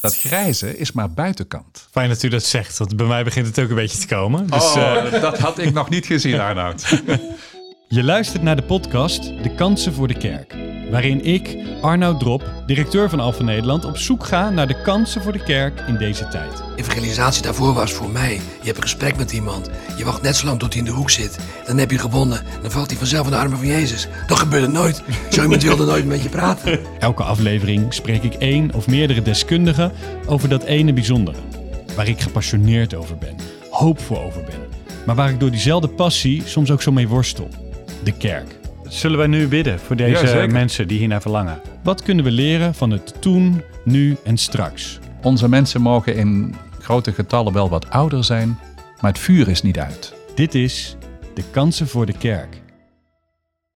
Dat grijze is maar buitenkant. Fijn dat u dat zegt, want bij mij begint het ook een beetje te komen. Dus, oh, eh, dat had ik nog niet gezien, Arnoud. Je luistert naar de podcast De Kansen voor de Kerk, waarin ik, Arnoud Drop, directeur van Alphen Nederland, op zoek ga naar de kansen voor de kerk in deze tijd. Evangelisatie daarvoor was voor mij. Je hebt een gesprek met iemand. Je wacht net zo lang tot hij in de hoek zit. Dan heb je gewonnen. Dan valt hij vanzelf in de armen van Jezus. Dat gebeurde nooit. Zo iemand wilde nooit met je praten. Elke aflevering spreek ik één of meerdere deskundigen over dat ene bijzondere, waar ik gepassioneerd over ben, hoopvol over ben, maar waar ik door diezelfde passie soms ook zo mee worstel. De kerk. Zullen wij nu bidden voor deze Jazeker. mensen die hiernaar verlangen? Wat kunnen we leren van het toen, nu en straks? Onze mensen mogen in grote getallen wel wat ouder zijn, maar het vuur is niet uit. Dit is De Kansen voor de Kerk.